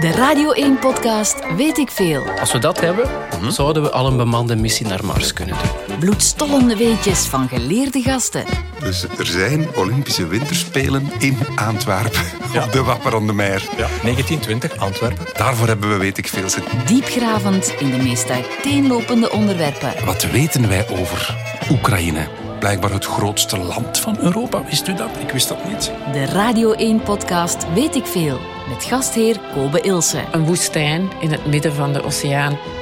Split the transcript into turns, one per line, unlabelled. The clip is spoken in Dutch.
De Radio 1-podcast Weet ik Veel.
Als we dat hebben, zouden we al een bemande missie naar Mars kunnen doen.
Bloedstollende weetjes van geleerde gasten.
Dus er zijn Olympische Winterspelen in Antwerpen. Op de Wapper aan de Meer.
1920, Antwerpen.
Daarvoor hebben we weet ik veel zitten.
Diepgravend in de meest uiteenlopende onderwerpen.
Wat weten wij over Oekraïne? Blijkbaar het grootste land van Europa. Wist u dat? Ik wist dat niet.
De Radio 1-podcast Weet ik Veel. Met gastheer Kobe Ilse.
Een woestijn in het midden van de oceaan.